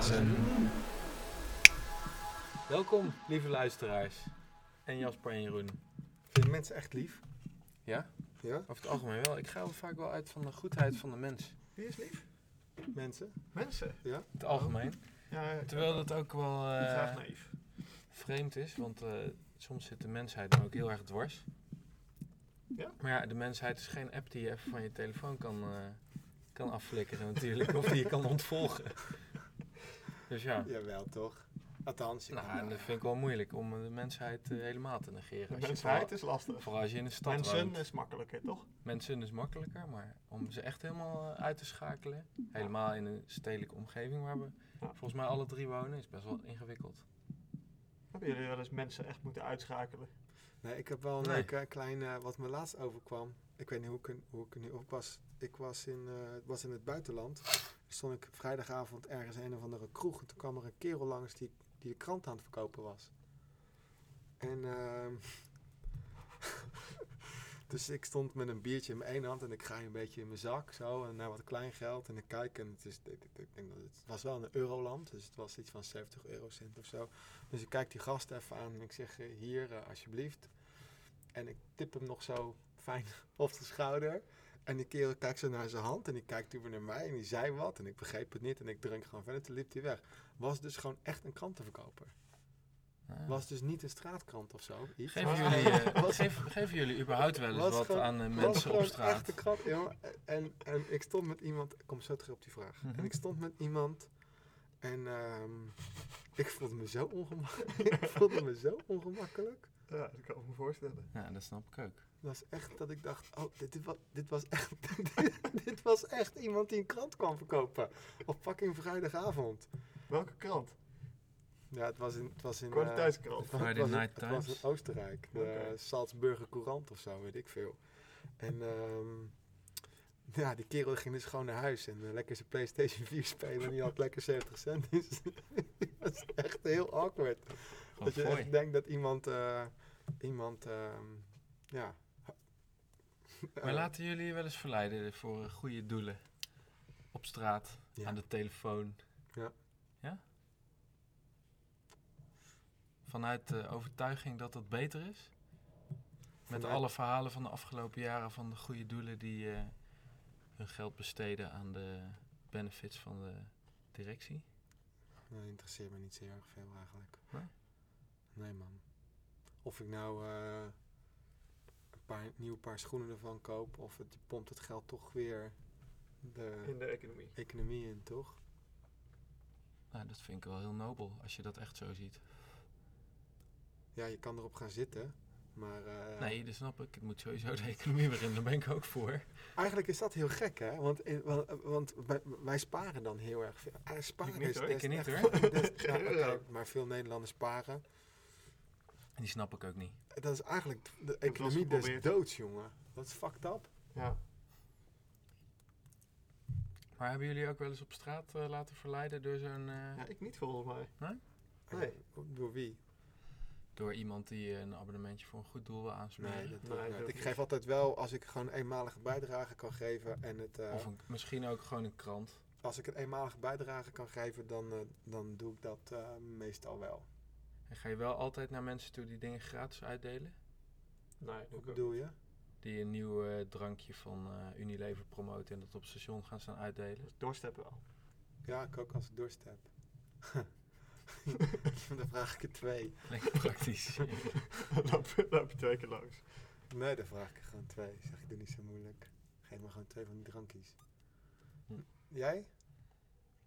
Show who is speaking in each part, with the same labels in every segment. Speaker 1: zijn.
Speaker 2: Welkom, lieve luisteraars. En Jasper en Jeroen.
Speaker 1: Vinden mensen echt lief?
Speaker 2: Ja?
Speaker 1: Ja?
Speaker 2: Over het algemeen wel. Ik ga wel vaak wel uit van de goedheid van de mens.
Speaker 1: Wie is lief? Mensen.
Speaker 3: Mensen.
Speaker 2: Het algemeen.
Speaker 3: Ja, ik
Speaker 2: Oh. Terwijl dat ook wel
Speaker 3: ben graag
Speaker 2: eh,
Speaker 3: naïef.
Speaker 2: vreemd is, want eh, soms zit de mensheid dan ook heel erg dwars.
Speaker 3: Ja?
Speaker 2: Maar ja, de mensheid is geen app die je even van je telefoon kan, eh, kan afflikkeren natuurlijk. of die je kan ontvolgen. Dus ja.
Speaker 1: Jawel, toch? Althans, ik-
Speaker 2: Nou, en dat vind ik wel moeilijk om eh, de mensheid eh, helemaal te negeren. Als je
Speaker 3: Mensheid
Speaker 2: vooral-
Speaker 3: is lastig.
Speaker 2: Vooral als je in de stad
Speaker 3: Mensen
Speaker 2: woont.
Speaker 3: is makkelijker, toch?
Speaker 2: Mensen is makkelijker, maar om ze echt helemaal eh, uit te schakelen, helemaal in een stedelijke omgeving waar we volgens mij alle drie wonen, is best wel ingewikkeld.
Speaker 3: Hebben jullie wel eens mensen echt moeten uitschakelen?
Speaker 1: nee, ik heb wel een
Speaker 2: Nee.
Speaker 1: leuk eh, klein, eh, wat me laatst overkwam. Ik weet niet hoe ik, er- hoe ik er nu op was. Ik was in, eh, was in het buitenland. Stond ik vrijdagavond ergens in een of andere kroeg. En toen kwam er een kerel langs die, die de krant aan het verkopen was. En ehm, dus ik stond met een biertje in mijn ene hand en ik ga een beetje in mijn zak zo en naar wat kleingeld en ik kijk en het is ik, ik- ik denk dat het was wel een euroland dus het was iets van 70 eurocent of zo dus ik kijk die gast even aan en ik zeg eh, hier eh, alsjeblieft en ik tip hem nog zo fijn op de schouder en die kerel kijkt zo naar zijn hand en die kijkt over naar mij en die zei wat en ik begreep het niet en ik drink gewoon verder toen liep hij weg was dus gewoon echt een krantenverkoper
Speaker 2: Ah.
Speaker 1: was dus niet een straatkrant of zo iets.
Speaker 2: Geven,
Speaker 3: Ah.
Speaker 2: jullie, eh,
Speaker 1: Was-
Speaker 2: geven, geven jullie überhaupt wel eens
Speaker 1: Was
Speaker 2: wat
Speaker 1: gewoon-
Speaker 2: aan eh,
Speaker 1: Het was
Speaker 2: mensen op
Speaker 1: gewoon
Speaker 2: straat?
Speaker 1: Echt de krant, jongen. En, en ik stond met iemand, ik kom zo terug op die vraag.
Speaker 2: Mhm.
Speaker 1: En ik stond met iemand en ehm, ik voelde me zo ongemakkelijk. ik voelde me zo ongemakkelijk.
Speaker 3: Ja, dat kan ik me voorstellen.
Speaker 2: Ja, dat snap ik ook.
Speaker 1: Het was echt dat ik dacht, oh, dit, dit, was, dit was echt, dit, dit was echt iemand die een krant kwam verkopen. Op fucking vrijdagavond.
Speaker 3: Welke krant?
Speaker 1: Ja, het was in... Het was in eh,
Speaker 3: Kwaliteitskrant.
Speaker 2: Friday
Speaker 1: het was in-
Speaker 2: Night
Speaker 1: het was
Speaker 2: Times.
Speaker 1: in Oostenrijk. De
Speaker 3: Oké.
Speaker 1: Salzburger Courant of zo, weet ik veel. En ehm, ja, die kerel ging dus gewoon naar huis en eh, lekker zijn PlayStation 4 spelen. En die had lekker 70 cent. Dus dat is echt heel awkward.
Speaker 2: Gewoon
Speaker 1: dat je
Speaker 2: Oh, fooi.
Speaker 1: echt denkt dat iemand, eh, iemand ehm, ja... eh,
Speaker 2: Maar laten jullie je wel eens verleiden voor eh, goede doelen. Op straat,
Speaker 1: Ja.
Speaker 2: aan de telefoon.
Speaker 1: Ja.
Speaker 2: Ja? Vanuit de overtuiging dat dat beter is? Met
Speaker 1: Vanuit-
Speaker 2: alle verhalen van de afgelopen jaren van de goede doelen die eh, hun geld besteden aan de benefits van de directie.
Speaker 1: Dat interesseert me niet zo heel erg veel eigenlijk.
Speaker 2: Nee?
Speaker 1: Nee, man. Of ik nou eh, een paar, nieuw paar schoenen ervan koop, of het je pompt het geld toch weer de
Speaker 3: In de economie.
Speaker 1: economie in, toch?
Speaker 2: Nou, dat vind ik wel heel nobel als je dat echt zo ziet.
Speaker 1: Ja, je kan erop gaan zitten, maar eh,
Speaker 2: Nee, dat snap ik. Het moet sowieso de economie weer in. Daar ben ik ook voor.
Speaker 1: eigenlijk is dat heel gek, hè? Want, in- wa- want wij, wij sparen dan heel erg veel. Eh, sparen
Speaker 3: niet,
Speaker 1: is,
Speaker 3: hoor.
Speaker 1: is
Speaker 2: Ik niet,
Speaker 1: echt-
Speaker 2: hoor.
Speaker 1: dat is-
Speaker 3: Geen
Speaker 1: nou,
Speaker 3: euro.
Speaker 1: oké, maar veel Nederlanders sparen.
Speaker 2: Die snap ik ook niet.
Speaker 1: Dat is eigenlijk de
Speaker 3: wel eens
Speaker 1: economie des
Speaker 3: geprobeerd.
Speaker 1: doods, jongen. Dat is fucked up.
Speaker 3: Ja.
Speaker 2: Maar hebben jullie ook wel eens op straat eh, laten verleiden door zo'n... eh,
Speaker 3: ja, ik niet volgens mij.
Speaker 1: Eh,
Speaker 3: Nee.
Speaker 1: Door wie?
Speaker 2: Door iemand die eh, een abonnementje voor een goed doel wil aansmeren?
Speaker 1: Nee, dat
Speaker 3: Nee,
Speaker 1: doe ik
Speaker 3: dat
Speaker 1: nooit.
Speaker 3: doe ik
Speaker 1: Ik geef altijd wel, als ik gewoon een eenmalige bijdrage kan geven en het, eh,
Speaker 2: Of een, misschien ook gewoon een krant.
Speaker 1: als ik een eenmalige bijdrage kan geven, dan, eh, dan doe ik dat eh, meestal wel.
Speaker 2: En ga je wel altijd naar mensen toe die dingen gratis uitdelen?
Speaker 3: Nee, doe
Speaker 1: Wat
Speaker 3: ik ook.
Speaker 1: bedoel je?
Speaker 2: Die een nieuw eh, drankje van eh, Unilever promoten en dat op het station gaan staan uitdelen.
Speaker 3: Dus doorsteppen wel.
Speaker 1: Ja, ik ook als ik dorst heb. dan vraag ik er twee.
Speaker 2: Lekker praktisch.
Speaker 3: loop, loop je twee keer langs.
Speaker 1: Nee, dan vraag ik er gewoon twee. Zeg ik, doe niet zo moeilijk. Geef me gewoon twee van die drankjes.
Speaker 2: Hm.
Speaker 1: Jij?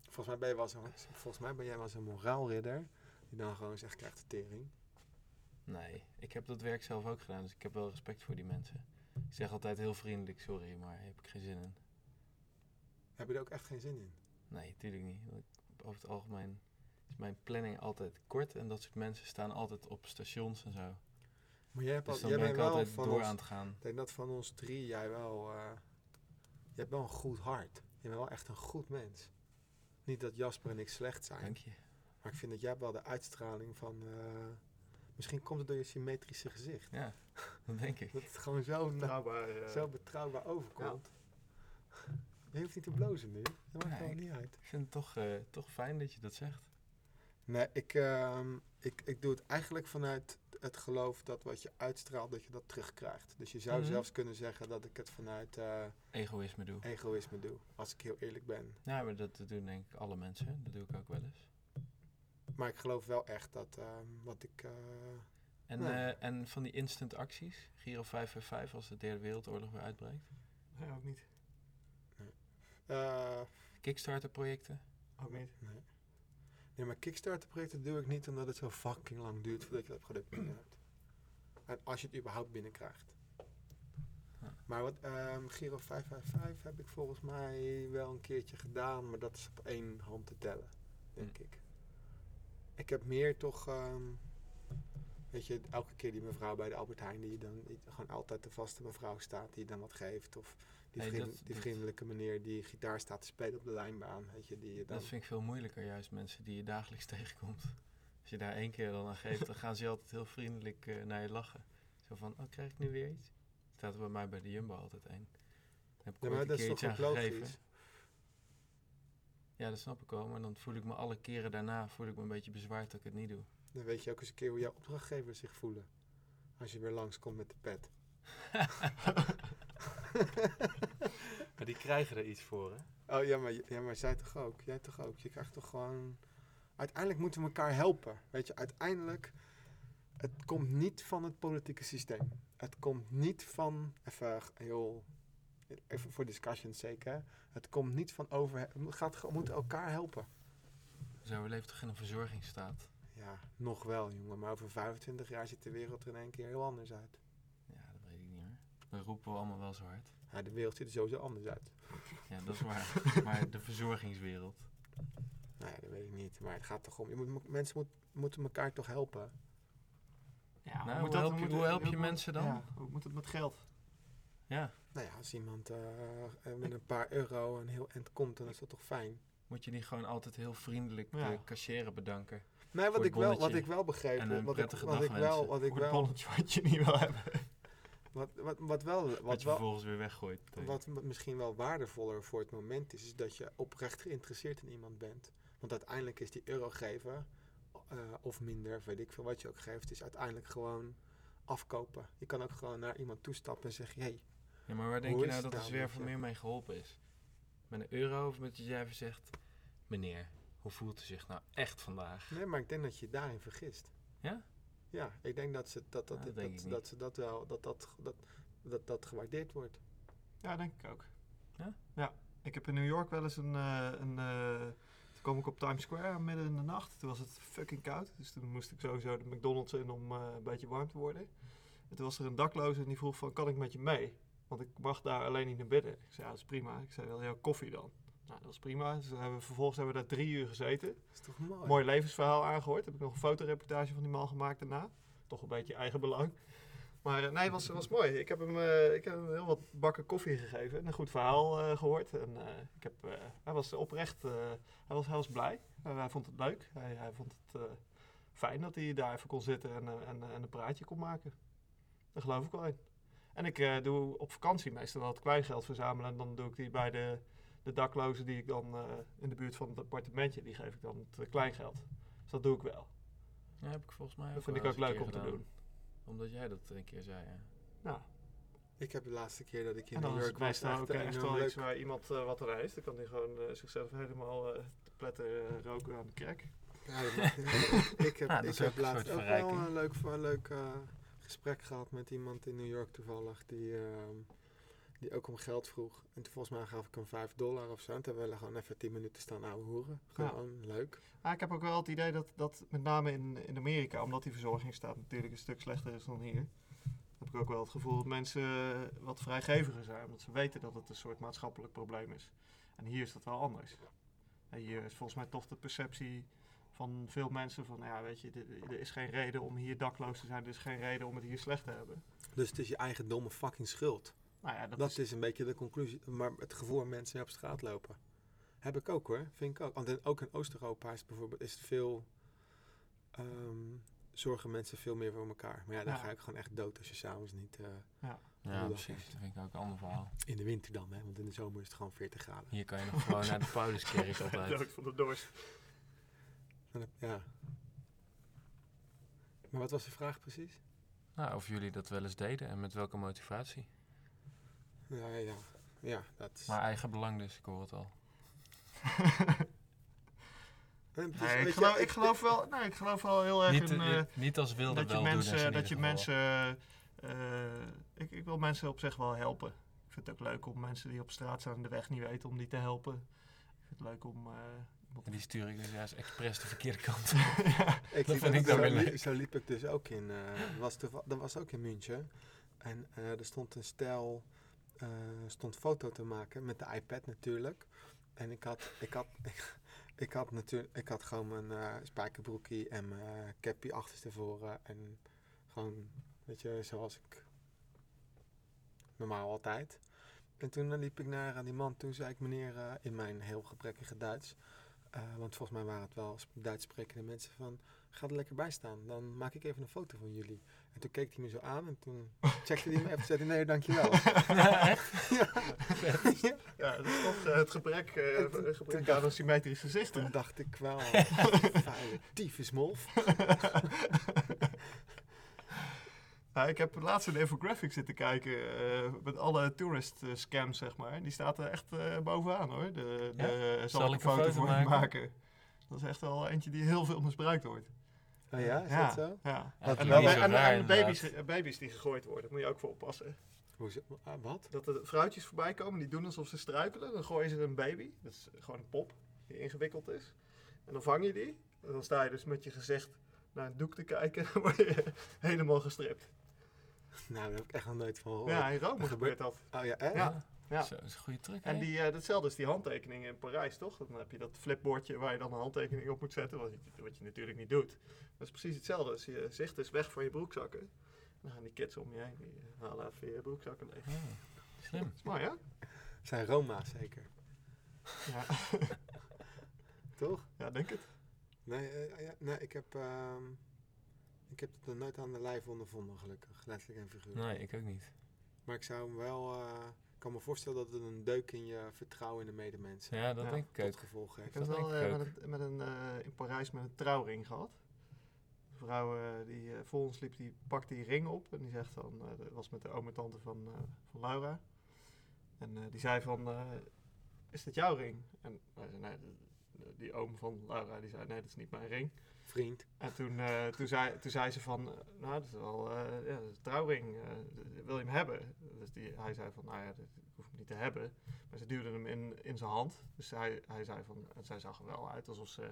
Speaker 1: Volgens mij ben, je wel zo, volgens mij ben jij wel zo'n moraalridder. Die dan gewoon zegt, krijgt de tering.
Speaker 2: nee, ik heb dat werk zelf ook gedaan, dus ik heb wel respect voor die mensen. Ik zeg altijd heel vriendelijk, sorry, maar daar heb ik geen zin in.
Speaker 1: Heb je er ook echt geen zin in?
Speaker 2: Nee, tuurlijk niet. want ik- over het algemeen is mijn planning altijd kort en dat soort mensen staan altijd op stations en zo.
Speaker 1: Maar jij, hebt al,
Speaker 2: Dus dan
Speaker 1: jij
Speaker 2: ben
Speaker 1: bent
Speaker 2: ik
Speaker 1: wel
Speaker 2: altijd
Speaker 1: van
Speaker 2: door
Speaker 1: ons-
Speaker 2: aan het gaan.
Speaker 1: Ik denk dat van ons drie jij wel... eh, je hebt wel een goed hart. Je bent wel echt een goed mens. Niet dat Jasper en ik slecht zijn.
Speaker 2: Dank je.
Speaker 1: Maar ik vind dat jij hebt wel de uitstraling van... eh, misschien komt het door je symmetrische gezicht.
Speaker 2: Ja, dat denk ik.
Speaker 1: Dat het gewoon zo, na-
Speaker 3: Nou, maar, eh,
Speaker 1: zo betrouwbaar overkomt. Je hoeft niet te blozen nu. Dat maakt
Speaker 2: Nee.
Speaker 1: gewoon niet uit.
Speaker 2: Ik vind het toch, eh, toch fijn dat je dat zegt.
Speaker 1: Nee, ik, ehm, ik, ik doe het eigenlijk vanuit het geloof dat wat je uitstraalt, dat je dat terugkrijgt. Dus je zou
Speaker 2: Mhm.
Speaker 1: zelfs kunnen zeggen dat ik het vanuit eh,
Speaker 2: Egoïsme doen.
Speaker 1: egoïsme doe, als ik heel eerlijk ben.
Speaker 2: Ja, maar dat, dat doen denk ik alle mensen. Dat doe ik ook wel eens.
Speaker 1: Maar ik geloof wel echt dat ehm, wat ik... eh,
Speaker 2: En,
Speaker 1: Ja.
Speaker 2: eh, en van die instant acties, Giro 555 als de derde wereldoorlog weer uitbreekt.
Speaker 3: Nee, ook niet.
Speaker 1: eh,
Speaker 2: Kickstarter projecten.
Speaker 3: Ook niet.
Speaker 1: nee. nee, maar Kickstarter-projecten doe ik niet omdat het zo fucking lang duurt voordat je dat product binnen hebt. En als je het überhaupt binnenkrijgt.
Speaker 2: Ja.
Speaker 1: Maar wat, ehm, Giro 555 heb ik volgens mij wel een keertje gedaan, maar dat is op één hand te tellen, denk
Speaker 2: Hm.
Speaker 1: ik. Ik heb meer toch, ehm, weet je, elke keer die mevrouw bij de Albert Heijn, die dan die gewoon altijd de vaste mevrouw staat, die dan wat geeft. Of die,
Speaker 2: Nee,
Speaker 1: vriend-
Speaker 2: dat-
Speaker 1: die
Speaker 2: dat-
Speaker 1: vriendelijke meneer die gitaar staat te spelen op de lijnbaan, weet je, die je dan...
Speaker 2: Dat vind ik veel moeilijker juist, mensen die je dagelijks tegenkomt. Als je daar één keer dan aan geeft, dan gaan ze altijd heel vriendelijk eh, naar je lachen. Zo van, oh, krijg ik nu weer iets? Staat er bij mij bij de Jumbo altijd één. Daar heb ik
Speaker 1: Ja,
Speaker 2: ooit
Speaker 1: maar
Speaker 2: een
Speaker 1: dat is toch dus?
Speaker 2: keertje
Speaker 1: ook
Speaker 2: aan gegeven.
Speaker 1: logisch?
Speaker 2: Ja, dat snap ik wel, maar dan voel ik me alle keren daarna voel ik me een beetje bezwaard dat ik het niet doe.
Speaker 1: Dan weet je ook eens een keer hoe jouw opdrachtgevers zich voelen. Als je weer langskomt met de pet.
Speaker 2: Maar die krijgen er iets voor, hè?
Speaker 1: Oh ja maar, ja, maar zij toch ook? Jij toch ook? Je krijgt toch gewoon. Uiteindelijk moeten we elkaar helpen. Weet je, uiteindelijk. Het komt niet van het politieke systeem. Het komt niet van. Even heel. Even voor discussion zeker. hè. Het komt niet van over. Het gaat, ge- we moeten elkaar helpen.
Speaker 2: Zo, we leven toch in een verzorgingsstaat?
Speaker 1: Ja, nog wel, jongen. Maar over 25 jaar ziet de wereld er in één keer heel anders uit.
Speaker 2: Ja, dat weet ik niet meer. We roepen allemaal wel zo hard.
Speaker 1: Ja, de wereld ziet er sowieso anders uit.
Speaker 2: Ja, dat is waar. maar de verzorgingswereld.
Speaker 1: Nou ja, dat weet ik niet. Maar het gaat toch om. Je moet, mo- mensen moet, moeten elkaar toch helpen.
Speaker 3: Ja,
Speaker 2: Nou, hoe help je- hoe help je mensen dan?
Speaker 3: Ja, hoe moet het met geld?
Speaker 2: Ja,
Speaker 1: Nou ja, als iemand eh, eh, met een paar euro een heel eind komt, dan is dat toch fijn.
Speaker 2: moet je niet gewoon altijd heel vriendelijk
Speaker 3: Ja.
Speaker 2: de cashier bedanken?
Speaker 1: Nee,
Speaker 2: Voor
Speaker 1: wat
Speaker 2: het
Speaker 1: ik, wel, wat
Speaker 2: bonnetje.
Speaker 1: ik wel begreep.
Speaker 2: En een
Speaker 1: wat ik,
Speaker 2: prettige
Speaker 1: wat
Speaker 2: dag
Speaker 1: ik wel,
Speaker 2: wensen.
Speaker 1: wat ik
Speaker 3: Voor het
Speaker 1: wel,
Speaker 3: bonnetje wat je niet wil hebben.
Speaker 1: wat, wat, wat wel,
Speaker 2: Wat
Speaker 1: wat
Speaker 2: je
Speaker 1: wel,
Speaker 2: vervolgens weer weggooit. meteen.
Speaker 1: wat m- misschien wel waardevoller voor het moment is, is dat je oprecht geïnteresseerd in iemand bent. Want uiteindelijk is die euro geven, eh, of minder, weet ik veel wat je ook geeft, is uiteindelijk gewoon afkopen. Je kan ook gewoon naar iemand toestappen en zeggen, hey,
Speaker 2: Ja, maar waar denk
Speaker 1: Hoe
Speaker 2: je
Speaker 1: is
Speaker 2: nou
Speaker 1: het
Speaker 2: dat er
Speaker 1: nou
Speaker 2: weer
Speaker 1: met
Speaker 2: voor
Speaker 1: je-
Speaker 2: meer mee geholpen is? Met een euro of met dat jij even zegt... Meneer, hoe voelt u zich nou echt vandaag?
Speaker 1: Nee, maar ik denk dat je je daarin vergist.
Speaker 2: Ja?
Speaker 1: Ja, ik denk dat ze dat, dat,
Speaker 2: Ah,
Speaker 1: dat,
Speaker 2: dat denk ik
Speaker 1: dat,
Speaker 2: niet.
Speaker 1: ze dat wel, dat dat, dat, dat dat gewaardeerd wordt.
Speaker 3: Ja, denk ik ook.
Speaker 2: Ja?
Speaker 3: Ja. Ik heb in New York wel eens een... eh, een eh, toen kwam ik op Times Square midden in de nacht. Toen was het fucking koud. Dus toen moest ik sowieso de McDonald's in om eh, een beetje warm te worden. En toen was er een dakloze en die vroeg van, kan ik met je mee? Want ik mag daar alleen niet naar binnen. Ik zei, ja, dat is prima. Ik zei, wil jouw koffie dan? Nou, dat was prima. Dus toen hebben we, vervolgens hebben we daar drie uur gezeten.
Speaker 1: Dat is toch mooi?
Speaker 3: Mooi levensverhaal aangehoord. Heb ik nog een fotoreportage van die man gemaakt daarna. Toch een beetje eigen belang. Maar eh, nee, was, was mooi. Ik heb, hem, eh, ik heb hem heel wat bakken koffie gegeven en een goed verhaal eh, gehoord. En, eh, ik heb, eh, hij was oprecht, eh, hij, was, hij was blij. En hij vond het leuk. Hij, hij vond het eh, fijn dat hij daar even kon zitten en, eh, en, eh, en een praatje kon maken. Daar geloof ik wel in. En ik eh, doe op vakantie meestal wat kleingeld verzamelen. En dan doe ik die bij de, de daklozen die ik dan eh, in de buurt van het appartementje, die geef ik dan het eh, kleingeld. Dus dat doe ik wel.
Speaker 2: Ja, Nou, heb ik volgens mij ook
Speaker 3: Dat vind
Speaker 2: wel
Speaker 3: ik ook
Speaker 2: eens een
Speaker 3: leuk
Speaker 2: keer
Speaker 3: om te
Speaker 2: gedaan.
Speaker 3: doen.
Speaker 2: Omdat jij dat een keer zei, ja.
Speaker 3: Nou,
Speaker 1: Ik heb de laatste keer dat ik in
Speaker 3: en dan
Speaker 1: New
Speaker 3: is
Speaker 1: York was
Speaker 3: het meestal
Speaker 1: echt,
Speaker 3: ook
Speaker 1: eh,
Speaker 3: echt
Speaker 1: enorm
Speaker 3: wel iets
Speaker 1: leuk.
Speaker 3: waar iemand eh, wat aan heeft. Dan kan hij gewoon eh, zichzelf helemaal eh, te pletten eh, roken aan de kerk.
Speaker 1: Ja, dat maakt niet uit. ik heb,
Speaker 2: Nou, dat
Speaker 1: ik
Speaker 2: is ook
Speaker 1: heb
Speaker 2: een
Speaker 1: laatst
Speaker 2: soort
Speaker 1: ook wel
Speaker 2: verrijking.
Speaker 1: een leuk, een leuk eh, gesprek gehad met iemand in New York toevallig. Die, ehm, die ook om geld vroeg. En toen volgens mij gaf ik hem 5 dollar of zo. En toen hebben we gewoon even 10 minuten staan ouwe hoeren. Gewoon leuk.
Speaker 3: Ah, ik heb ook wel het idee dat, dat met name in, in Amerika, omdat die verzorgingsstaat natuurlijk een stuk slechter is dan hier, heb ik ook wel het gevoel dat mensen eh, wat vrijgeviger zijn, omdat ze weten dat het een soort maatschappelijk probleem is. En hier is dat wel anders. En hier is volgens mij toch de perceptie van veel mensen van, ja weet je, dit- er is geen reden om hier dakloos te zijn, er is geen reden om het hier slecht te hebben.
Speaker 1: Dus het is je eigen domme fucking schuld.
Speaker 3: Nou ja, dat,
Speaker 1: Dat,
Speaker 3: is...
Speaker 1: is, een beetje de conclusie. Maar het gevoel waar mensen op straat lopen. Heb ik ook hoor, vind ik ook. Want in, ook in Oost-Europa is bijvoorbeeld is het veel ehm, zorgen mensen veel meer voor elkaar. Maar ja, dan
Speaker 3: Ja.
Speaker 1: ga ik gewoon echt dood als je s'avonds niet... eh,
Speaker 2: Ja,
Speaker 1: Donderdag
Speaker 2: precies.
Speaker 1: is.
Speaker 2: Dat vind ik ook een ander verhaal.
Speaker 1: in de winter dan, hè. Want in de zomer is het gewoon 40 graden.
Speaker 2: Hier kan je nog gewoon naar de Pauluskerk
Speaker 3: Dood
Speaker 2: altijd.
Speaker 3: van de dorst.
Speaker 1: En dat- Ja. Maar wat was de vraag precies?
Speaker 2: Nou, of jullie dat wel eens deden en met welke motivatie.
Speaker 1: Ja, ja, ja. Ja, dat is...
Speaker 2: Maar eigen belang dus, ik hoor het al.
Speaker 1: En Eh, het is-
Speaker 3: Nee, ik,
Speaker 1: weet je,
Speaker 3: geloof, ik, geloof wel, nee, ik geloof wel heel erg
Speaker 2: Niet,
Speaker 3: in...
Speaker 2: eh,
Speaker 3: eh,
Speaker 2: niet als wilde
Speaker 3: dat je
Speaker 2: weldoeners
Speaker 3: mensen,
Speaker 2: in
Speaker 3: dat
Speaker 2: ieder
Speaker 3: je
Speaker 2: geval.
Speaker 3: mensen eh, ik, ik wil mensen op zich wel helpen. Ik vind het ook leuk om mensen die op straat staan en de weg niet weten, om die te helpen. Ik vind het leuk om... eh, iemand-
Speaker 2: En die stuur ik dus juist expres de verkeerde kant.
Speaker 3: ja.
Speaker 1: Ik
Speaker 2: Dat
Speaker 1: liep
Speaker 2: vind
Speaker 1: ook-
Speaker 2: ik dan
Speaker 1: zo,
Speaker 2: weer
Speaker 1: liep-
Speaker 2: leuk.
Speaker 1: zo liep ik dus ook in. eh, was toeval- dat was ook in München. En eh, er stond een stijl. eh, stond foto te maken met de iPad natuurlijk. En ik had. Ik had Ik had, natuurlijk, ik had gewoon mijn eh, spijkerbroekie en mijn eh, cappy achterstevoren. En gewoon, weet je, zoals ik normaal altijd. En toen eh, liep ik naar eh, die man toe, zei ik meneer eh, in mijn heel gebrekkige Duits. eh, want volgens mij waren het wel sp- Duits sprekende mensen van, ga er lekker bij staan. Dan maak ik even een foto van jullie. En toen keek hij me zo aan en toen checkte hij me even en zei hij, nee dankjewel. ja. ja.
Speaker 3: ja, dat is toch eh, het gebrek, eh,
Speaker 1: Het-
Speaker 3: het gebrek aan een symmetrisch gezicht. hè?
Speaker 1: Toen dacht ik wel, vuile tyfusmolf.
Speaker 3: Nou, ik heb laatst een infographic zitten kijken eh, met alle tourist eh, scams, zeg maar. Die staat er echt eh, bovenaan, hoor. De,
Speaker 2: Ja?
Speaker 3: de, zal,
Speaker 2: Zal
Speaker 3: ik een foto, voor je
Speaker 2: maken?
Speaker 3: maken? Dat is echt wel eentje die heel veel misbruikt wordt.
Speaker 1: Oh ja, is
Speaker 3: ja,
Speaker 1: dat zo?
Speaker 3: Ja.
Speaker 2: Ja, het
Speaker 1: En
Speaker 2: is
Speaker 1: dan-
Speaker 2: niet zo
Speaker 1: en-
Speaker 3: en
Speaker 2: raar,
Speaker 3: de baby's,
Speaker 2: inderdaad.
Speaker 3: eh, baby's die gegooid worden, moet je ook voor oppassen.
Speaker 1: Hoezo? Ah, wat?
Speaker 3: Dat er vrouwtjes voorbij komen, die doen alsof ze struikelen. Dan gooien ze een baby, dat is gewoon een pop, die ingewikkeld is. En dan vang je die. En dan sta je dus met je gezicht naar een doek te kijken. Dan word je helemaal gestript.
Speaker 1: Nou, daar heb ik echt nog nooit van gehoord.
Speaker 3: Ja, in Rome
Speaker 1: dat
Speaker 3: gebeurt dat.
Speaker 1: Oh ja, echt?
Speaker 3: Ja, ja.
Speaker 2: Zo, dat is een goede truc.
Speaker 3: En
Speaker 2: hè?
Speaker 3: die, eh, datzelfde is die handtekeningen in Parijs, toch? Dan heb je dat flipboardje waar je dan een handtekening op moet zetten, wat je, wat je natuurlijk niet doet. Dat is precies hetzelfde. Dus je zicht is weg van je broekzakken. Dan gaan die kids om je heen, die eh, halen even je broekzakken leeg.
Speaker 2: Ja, slim.
Speaker 3: Dat is mooi, hè?
Speaker 1: Zijn Roma zeker,
Speaker 3: Ja,
Speaker 1: toch?
Speaker 3: ja denk het.
Speaker 1: Nee, eh, ja, nee ik heb... ehm, ik heb het nog nooit aan de lijf ondervonden, gelukkig. Letterlijk en figuurlijk.
Speaker 2: Nee, ik ook niet.
Speaker 1: Maar ik zou hem wel... eh, ik kan me voorstellen dat het een deuk in je vertrouwen in de medemensen
Speaker 2: Ja, dat
Speaker 3: Ja,
Speaker 2: denk ik
Speaker 1: tot
Speaker 2: ook.
Speaker 1: gevolg heeft.
Speaker 3: Ik heb het
Speaker 2: Dat
Speaker 3: wel
Speaker 2: denk ik
Speaker 3: eh, met een, met een, eh, in Parijs met een trouwring gehad. Een vrouw eh, die eh, voor ons liep, die pakt die ring op. En die zegt dan, eh, dat was met de oom en tante van, eh, van Laura. En eh, die zei van, eh, is dit jouw ring? En wij zeiden, nee, de- de- die oom van Laura die zei, nee, dat is niet mijn ring.
Speaker 1: Vriend.
Speaker 3: En toen, eh, toen, zei, toen zei ze van, eh, nou, dat is wel eh, ja, dat is een trouwring, eh, d- wil je hem hebben? Dus die, hij zei van, nou ja, dat, ik hoef hem niet te hebben. Maar ze duwde hem in, in zijn hand. Dus hij, hij zei van, en zij zag er wel uit alsof ze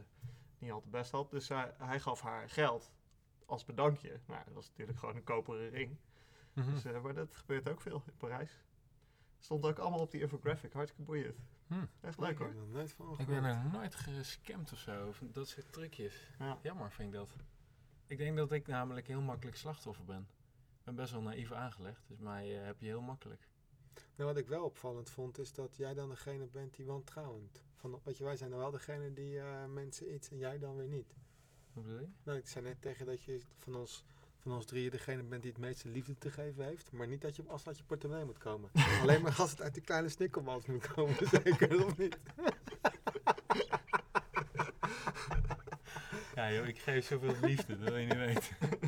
Speaker 3: niet al te best had. Dus zij, hij gaf haar geld als bedankje. Nou, dat was natuurlijk gewoon een koperen ring.
Speaker 2: Mhm.
Speaker 3: Dus, eh, maar dat gebeurt ook veel in Parijs. Stond ook allemaal op die infographic, hartstikke boeiend.
Speaker 2: Hm.
Speaker 3: Echt leuk
Speaker 1: Ik heb
Speaker 3: hoor.
Speaker 1: er nog nooit van
Speaker 2: Ik ben
Speaker 1: gehoord.
Speaker 2: nog nooit gescamd of zo. Van dat soort trucjes.
Speaker 3: Ja.
Speaker 2: Jammer vind ik dat. Ik denk dat ik namelijk heel makkelijk slachtoffer ben. Ik ben best wel naïef aangelegd, dus mij eh, heb je heel makkelijk.
Speaker 1: Nou, wat ik wel opvallend vond, is dat jij dan degene bent die wantrouwend. Van, weet je, wij zijn dan wel degene die eh, mensen iets en jij dan weer niet.
Speaker 2: Hoe bedoel je?
Speaker 1: Nou, ik zei net tegen dat je van ons, van ons drieën degene bent die het meeste liefde te geven heeft. Maar niet dat je op afstand je portemonnee moet komen. Alleen maar als het uit die kleine snikkelband moet komen, zeker of niet.
Speaker 2: Ja joh, ik geef zoveel liefde, dat wil je niet weten.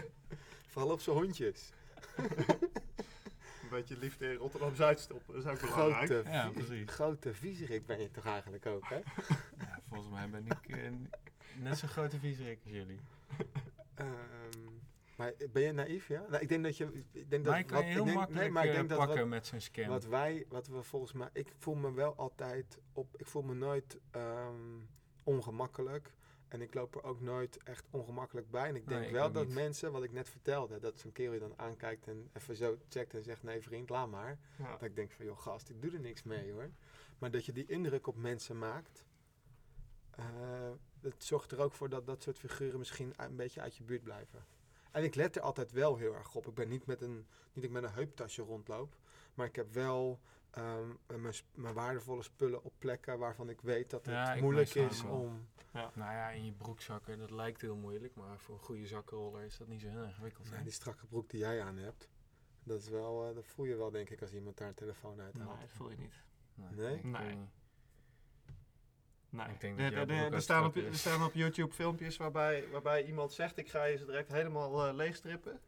Speaker 1: Vooral op zijn hondjes.
Speaker 3: Een beetje liefde in Rotterdam-Zuid stoppen, dat is ook belangrijk.
Speaker 1: Grote,
Speaker 2: Ja,
Speaker 1: vie-
Speaker 2: precies.
Speaker 1: grote viezerik ben je toch eigenlijk ook, hè?
Speaker 2: Ja, volgens mij ben ik eh, net zo'n grote viezerik als jullie.
Speaker 1: Ehm, maar ben je naïef, ja? Nou, ik denk dat je... Ik denk dat
Speaker 2: Mij kan
Speaker 1: wat-
Speaker 2: je heel
Speaker 1: ik denk,
Speaker 2: makkelijk
Speaker 1: nee, maar ik
Speaker 2: eh,
Speaker 1: denk dat
Speaker 2: pakken
Speaker 1: wat,
Speaker 2: met zo'n scam.
Speaker 1: wat wij, wat we volgens mij... Ik voel me wel altijd op... Ik voel me nooit ehm, ongemakkelijk. En ik loop er ook nooit echt ongemakkelijk bij. En ik denk
Speaker 2: Nee, ik
Speaker 1: wel
Speaker 2: ook
Speaker 1: dat
Speaker 2: niet.
Speaker 1: mensen, wat ik net vertelde, dat zo'n kerel je dan aankijkt en even zo checkt en zegt, nee vriend, laat maar.
Speaker 3: eh, Ja.
Speaker 1: Dat ik denk van, joh gast, ik doe er niks mee hoor. Maar dat je die indruk op mensen maakt, eh, dat zorgt er ook voor dat dat soort figuren misschien een beetje uit je buurt blijven. En ik let er altijd wel heel erg op. Ik ben niet met een, niet dat ik met een heuptasje rondloop, maar ik heb wel ehm, mijn, sp- mijn waardevolle spullen op plekken waarvan ik weet dat het
Speaker 2: Ja, ik
Speaker 1: moeilijk
Speaker 2: meestal
Speaker 1: is
Speaker 2: ook wel.
Speaker 1: om.
Speaker 2: Nou ja, in je broekzakken, dat lijkt heel moeilijk, maar voor een goede zakkenroller is dat niet zo heel ingewikkeld. hè?
Speaker 1: Nou, die strakke broek die jij aan hebt, dat is wel, eh, dat voel je wel denk ik als iemand daar een telefoon uit
Speaker 3: Nee,
Speaker 1: haalt.
Speaker 3: dat voel je niet.
Speaker 1: Nee?
Speaker 2: Nou, ik weet
Speaker 3: Nee.
Speaker 2: niet.
Speaker 3: Nee.
Speaker 2: Ik denk
Speaker 3: Nou, De-
Speaker 2: dat
Speaker 3: de-
Speaker 2: jouw
Speaker 3: de-
Speaker 2: broek
Speaker 3: er,
Speaker 2: ook
Speaker 3: staan op,
Speaker 2: strakker
Speaker 3: er
Speaker 2: is.
Speaker 3: staan op YouTube filmpjes waarbij, waarbij iemand zegt: Ik ga je ze direct helemaal eh, leegstrippen.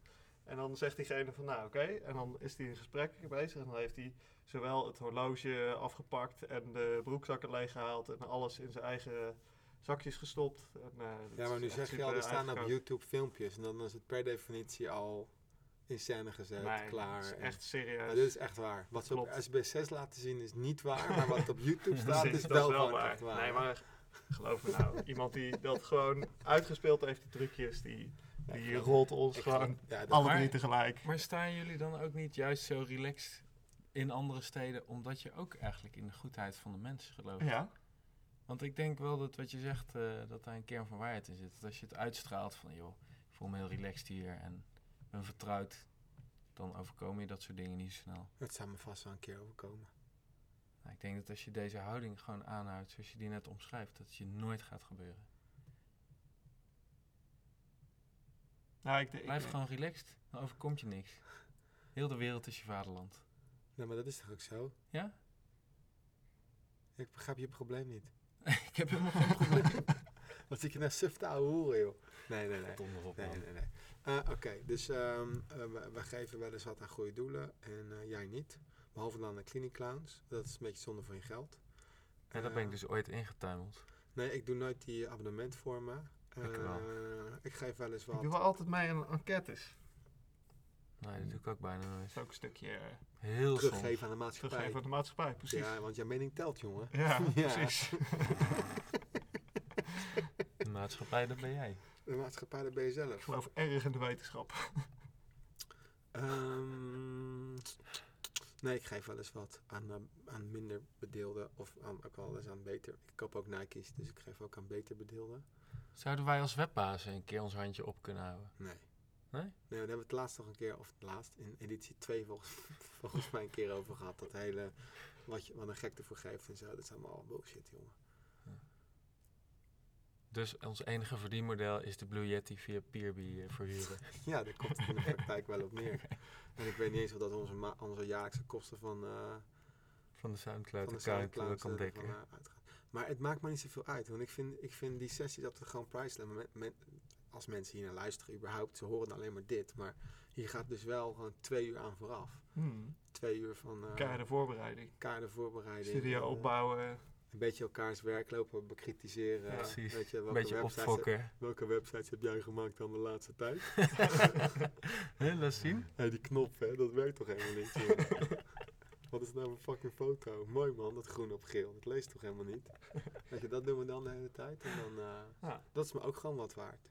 Speaker 3: En dan zegt diegene van nou oké. En dan is hij in gesprek bezig. En dan heeft hij zowel het horloge afgepakt en de broekzakken leeggehaald. En alles in zijn eigen zakjes gestopt. En, eh, dat
Speaker 1: Ja, maar
Speaker 3: is
Speaker 1: nu
Speaker 3: echt
Speaker 1: zeg je
Speaker 3: super
Speaker 1: al, er staan op
Speaker 3: uitgekookt.
Speaker 1: YouTube filmpjes en dan is het per definitie al in scène gezet,
Speaker 3: Nee,
Speaker 1: eh, klaar.
Speaker 3: dat is
Speaker 1: en-
Speaker 3: echt serieus.
Speaker 1: Maar dit is echt waar. Wat ze op
Speaker 3: Klopt.
Speaker 1: SB6 laten zien is niet waar, maar wat op YouTube staat
Speaker 3: Dat
Speaker 1: is
Speaker 3: dat
Speaker 1: wel gewoon echt waar.
Speaker 3: Nee, maar geloof me nou, iemand die dat gewoon uitgespeeld heeft, die trucjes, die,
Speaker 1: Ja, ik
Speaker 3: die
Speaker 1: geloof-
Speaker 3: rolt ons
Speaker 1: ik
Speaker 3: gewoon
Speaker 1: geloof- ja, dat-
Speaker 3: alle
Speaker 2: Maar-
Speaker 3: drie tegelijk.
Speaker 2: Maar staan jullie dan ook niet juist zo relaxed in andere steden, omdat je ook eigenlijk in de goedheid van de mens gelooft?
Speaker 3: Ja,
Speaker 2: Want ik denk wel dat wat je zegt, eh, dat daar een kern van waarheid in zit. Dat als je het uitstraalt van, joh, ik voel me heel relaxed hier en ik ben vertrouwd, dan overkomen je dat soort dingen niet zo snel.
Speaker 1: Het zou me vast wel een keer overkomen.
Speaker 2: Nou, ik denk dat als je deze houding gewoon aanhoudt, zoals je die net omschrijft, dat het je nooit gaat gebeuren.
Speaker 3: nou, ik, ik,
Speaker 2: Blijf gewoon relaxed, dan overkomt je niks. Heel de wereld is je vaderland.
Speaker 1: Nee, maar dat is toch ook zo?
Speaker 2: Ja?
Speaker 1: Ik begrijp je probleem niet.
Speaker 2: ik heb helemaal geen probleem.
Speaker 1: Wat zit je nou suf te ouwe hoeren, joh? Nee, nee, nee.
Speaker 2: Donder op,
Speaker 1: Nee,
Speaker 2: man.
Speaker 1: nee, nee. Eh, Oké, dus ehm, eh, we, we geven wel eens wat aan goede doelen en eh, jij niet. Behalve dan de clinic clowns. Dat is een beetje zonde van je geld.
Speaker 2: Ja, daar ben ik
Speaker 1: Eh,
Speaker 2: dus ooit ingetuimeld.
Speaker 1: Nee, ik doe nooit die abonnementvormen.
Speaker 2: Ik wel.
Speaker 1: Eh, ik geef wel eens
Speaker 3: ik
Speaker 1: wat.
Speaker 3: doe wel altijd mee aan enquêtes.
Speaker 2: Nee, Nou, dat doe ik ook bijna nooit.
Speaker 3: Dat is ook een stukje eh,
Speaker 2: Heel soms.
Speaker 1: teruggeven aan de maatschappij.
Speaker 3: teruggeven aan de maatschappij, precies. Ja,
Speaker 1: Ja, want jouw mening telt, jongen. Ja.
Speaker 3: precies.
Speaker 2: De maatschappij, dat ben jij.
Speaker 1: De maatschappij, daar ben je
Speaker 3: Ik
Speaker 1: zelf.
Speaker 3: geloof erg in de wetenschap.
Speaker 1: Ehm, nee, ik geef wel eens wat aan, eh, aan minder bedeelden. Of aan, ook wel eens aan beter. Ik koop ook Nike's, dus ik geef ook aan beter bedeelden.
Speaker 2: Zouden wij als webbazen een keer ons handje op kunnen houden?
Speaker 1: Nee.
Speaker 2: Nee?
Speaker 1: Nee, we hebben we het laatst nog een keer, of het laatst, in editie 2 volgens, volgens mij een keer over gehad. Dat hele, wat, je, wat een gek ervoor geeft en zo. Dat is allemaal bullshit, jongen.
Speaker 2: Dus ons enige verdienmodel is de Blue Yeti via Peerby eh, verhuren.
Speaker 1: Ja, daar komt het in de praktijk wel op neer. En ik weet niet eens of dat onze, ma- onze jaarlijkse kosten van, eh,
Speaker 2: Van de
Speaker 1: van de
Speaker 2: Soundcloud account
Speaker 1: Soundcloud
Speaker 2: dat kan
Speaker 1: eh,
Speaker 2: dekken.
Speaker 1: ervan, eh, uitgaat. Maar het maakt me niet zoveel uit. Want ik vind, ik vind die sessies altijd gewoon priceless. Men- men- als mensen hier naar luisteren überhaupt, ze horen alleen maar dit. Maar hier gaat dus wel gewoon twee uur aan vooraf.
Speaker 3: Hmm.
Speaker 1: Twee uur van eh
Speaker 3: Keiharde voorbereiding.
Speaker 1: kaartenvoorbereiding.
Speaker 3: Studio
Speaker 1: eh,
Speaker 3: opbouwen.
Speaker 1: Een beetje elkaars werk lopen bekritiseren.
Speaker 3: Ja,
Speaker 2: precies.
Speaker 1: Weet je,
Speaker 2: Een
Speaker 1: welke,
Speaker 2: beetje
Speaker 1: websites,
Speaker 2: opfokken.
Speaker 1: welke websites heb jij gemaakt dan de laatste tijd?
Speaker 2: Hè, Laat zien.
Speaker 1: Hé, die knop, hè, dat werkt toch helemaal niet, jongen? Wat is nou een fucking foto? Mooi man, dat groen op geel. Dat leest toch helemaal niet? Weet je, dat doen we dan de hele tijd. En dan, eh,
Speaker 3: Ja.
Speaker 1: Dat is me ook gewoon wat waard.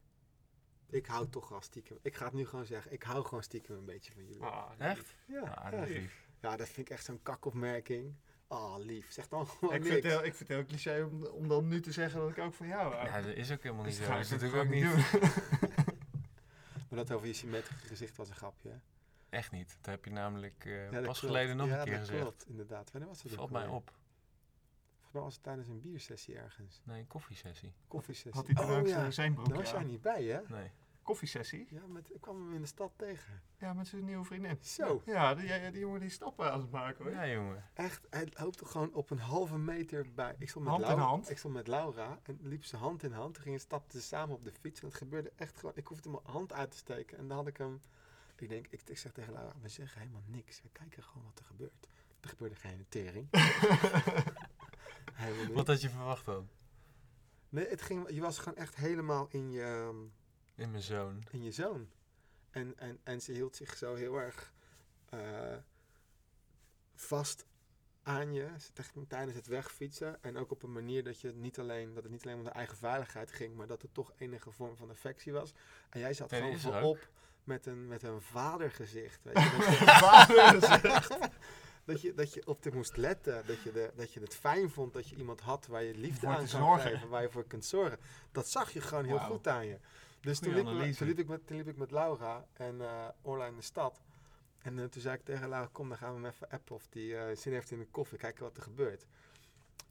Speaker 1: Ik hou toch gewoon stiekem... Ik ga het nu gewoon zeggen, ik hou gewoon stiekem een beetje van jullie.
Speaker 3: Ah,
Speaker 2: Echt?
Speaker 1: Ja,
Speaker 2: Ah,
Speaker 1: ja.
Speaker 2: dat is lief.
Speaker 1: Ja, dat vind ik echt zo'n kakopmerking. Ah, lief. Zeg dan gewoon
Speaker 3: ik,
Speaker 1: niks.
Speaker 3: vind het heel, ik vind het heel cliché om, om dan nu te zeggen dat ik ook van jou hou.
Speaker 2: Ja, dat is ook helemaal niet
Speaker 3: Dus
Speaker 2: zo.
Speaker 3: dat ga
Speaker 2: Dat
Speaker 3: ik
Speaker 2: is
Speaker 3: natuurlijk
Speaker 2: natuurlijk ook niet.
Speaker 3: doen.
Speaker 1: Maar dat over je symmetrische gezicht was een grapje, hè?
Speaker 2: Echt niet. Dat heb je namelijk eh,
Speaker 1: dat
Speaker 2: pas
Speaker 1: klopt.
Speaker 2: geleden nog
Speaker 1: ja,
Speaker 2: een keer
Speaker 1: dat
Speaker 2: gezegd.
Speaker 1: klopt, inderdaad. Wanneer was dat ook
Speaker 2: Valt mij
Speaker 1: alweer?
Speaker 2: op.
Speaker 1: Volgens mij was het tijdens een biersessie ergens.
Speaker 2: Nee, een koffiesessie.
Speaker 1: Koffiesessie.
Speaker 3: Had hij toen
Speaker 1: oh,
Speaker 3: ook
Speaker 1: ja.
Speaker 3: zijn- zijn broek
Speaker 1: Daar was
Speaker 3: aan.
Speaker 1: jij niet bij, hè?
Speaker 2: Nee.
Speaker 3: Koffiesessie?
Speaker 1: Ja, met, ik kwam hem in de stad tegen.
Speaker 3: Ja, met zijn nieuwe vriendin.
Speaker 1: Zo.
Speaker 3: Ja, die, ja, die jongen die stappen aan het maken hoor.
Speaker 2: Ja, jongen.
Speaker 1: Echt, hij loopt er gewoon op een halve meter bij. Ik stond met,
Speaker 3: Hand in
Speaker 1: Laura,
Speaker 3: hand.
Speaker 1: Ik stond met Laura en liep ze hand in hand. Toen gingen stapten ze samen op de fiets. En het gebeurde echt gewoon. Ik hoefde mijn hand uit te steken. En dan had ik hem. Ik denk, ik, ik zeg tegen Laura, we zeggen helemaal niks. We kijken gewoon wat er gebeurt. Er gebeurde geen tering. helemaal niks.
Speaker 2: Wat had je verwacht dan?
Speaker 1: Nee, het ging, je was gewoon echt helemaal in je. ehm,
Speaker 2: In mijn zoon.
Speaker 1: in je zoon. En, en, en ze hield zich zo heel erg eh, vast aan je ze- teg- tijdens het wegfietsen. En ook op een manier dat, je het niet alleen, dat het niet alleen om de eigen veiligheid ging, maar dat het toch enige vorm van affectie was. En jij zat
Speaker 2: Nee, die
Speaker 1: gewoon
Speaker 2: is er
Speaker 1: voorop met een, met een vadergezicht. Weet je, dat, je, dat, je, dat je op dit moest letten, dat je, de, dat je het fijn vond dat je iemand had waar je liefde
Speaker 3: Voor te
Speaker 1: aan zou
Speaker 3: zorgen.
Speaker 1: geven, waar je voor kunt zorgen. Dat zag je gewoon heel
Speaker 3: Wauw.
Speaker 1: goed aan je. Dus toen
Speaker 2: Goeie
Speaker 1: liep, ik met-
Speaker 2: analyse.
Speaker 1: toen, liep ik met, toen liep ik met Laura en eh Orla in de stad. En eh, toen zei ik tegen Laura, kom, dan gaan we hem even appen of die eh, zin heeft in een koffie, kijken wat er gebeurt.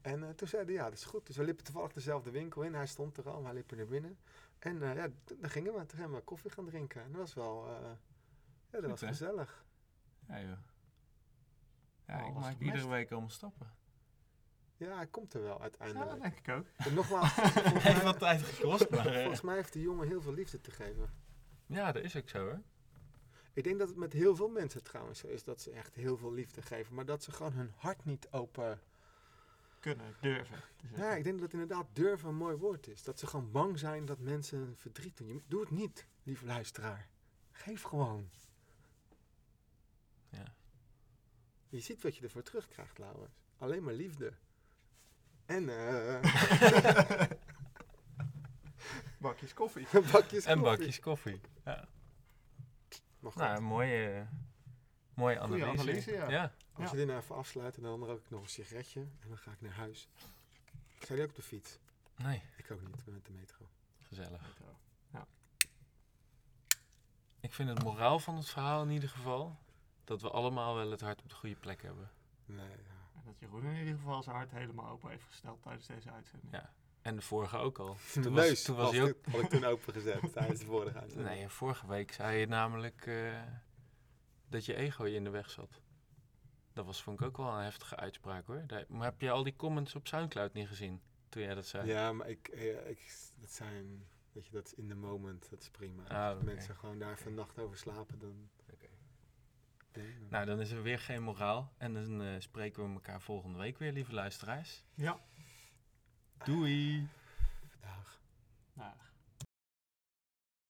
Speaker 1: En eh, toen zei hij, ja, dat is goed. Dus we liepen toevallig dezelfde winkel in. Hij stond er al, maar hij liep er naar binnen. En eh, ja, toen- dan gingen we. Toen gingen we koffie gaan drinken. En dat was wel, eh, ja, dat
Speaker 2: Goed,
Speaker 1: was
Speaker 2: hè?
Speaker 1: gezellig.
Speaker 2: Ja, joh. Ja,
Speaker 3: Oh,
Speaker 2: ik
Speaker 3: was
Speaker 2: maak
Speaker 3: gemest.
Speaker 2: iedere week allemaal stappen.
Speaker 1: Ja, hij komt er wel
Speaker 3: Ja, dat
Speaker 1: uiteindelijk.
Speaker 3: denk ik ook.
Speaker 1: En nogmaals, volgens
Speaker 2: Heeft
Speaker 1: mij,
Speaker 2: wat tijd gekost, maar... eh,
Speaker 1: volgens mij heeft die jongen heel veel liefde te geven.
Speaker 2: ja, dat is ook zo, hoor.
Speaker 1: Ik denk dat het met heel veel mensen trouwens zo is dat ze echt heel veel liefde geven, maar dat ze gewoon hun hart niet open.
Speaker 3: Kunnen, durven. te zeggen.
Speaker 1: Ja, ik denk dat inderdaad durven een mooi woord is. Dat ze gewoon bang zijn dat mensen hun verdriet doen. Je moet- Doe het niet, lieve luisteraar. Geef gewoon.
Speaker 2: Ja.
Speaker 1: Je ziet wat je ervoor terugkrijgt, Laurens. Alleen maar liefde. En eh,
Speaker 3: Bakjes koffie.
Speaker 1: bakjes
Speaker 2: En
Speaker 1: koffie.
Speaker 2: bakjes koffie. Ja.
Speaker 1: Maar goed,
Speaker 2: Nou, een mooie, eh, mooie
Speaker 3: Goeie
Speaker 2: analyse.
Speaker 3: analyse, ja.
Speaker 1: als
Speaker 3: ja.
Speaker 1: jullie nou even afsluiten, dan rook ik nog een sigaretje. En dan ga ik naar huis. Zijn jullie ook op de fiets?
Speaker 2: Nee,
Speaker 1: Ik ook niet, ik ben met de metro.
Speaker 2: gezellig. Ik vind het moraal van het verhaal in ieder geval... dat we allemaal wel het hart op de goede plek hebben.
Speaker 1: Nee, ja.
Speaker 3: En dat Jeroen in ieder geval zijn hart helemaal open heeft gesteld tijdens deze uitzending.
Speaker 2: Ja. En de vorige ook al.
Speaker 1: Mijn
Speaker 2: was-
Speaker 1: neus
Speaker 2: toen was
Speaker 1: had
Speaker 2: hij
Speaker 1: ik- had ik toen opengezet tijdens de vorige uitzending.
Speaker 2: Nee, vorige week zei je namelijk eh, dat je ego je in de weg zat. Dat was, vond ik ook wel een heftige uitspraak hoor. Daar- maar heb je al die comments op Soundcloud niet gezien toen jij dat zei?
Speaker 1: Ja, maar ik, eh, ik, dat zijn, weet je, dat is in the moment, dat is prima.
Speaker 2: Ah,
Speaker 1: Als
Speaker 2: oké.
Speaker 1: mensen gewoon daar even een nacht over slapen, dan...
Speaker 2: Oké.
Speaker 1: Nee, dan-
Speaker 2: Nou, dan is er weer geen moraal. En dan eh, spreken we elkaar volgende week weer, lieve luisteraars.
Speaker 3: Ja.
Speaker 2: Doei!
Speaker 1: Dag.
Speaker 3: Nou,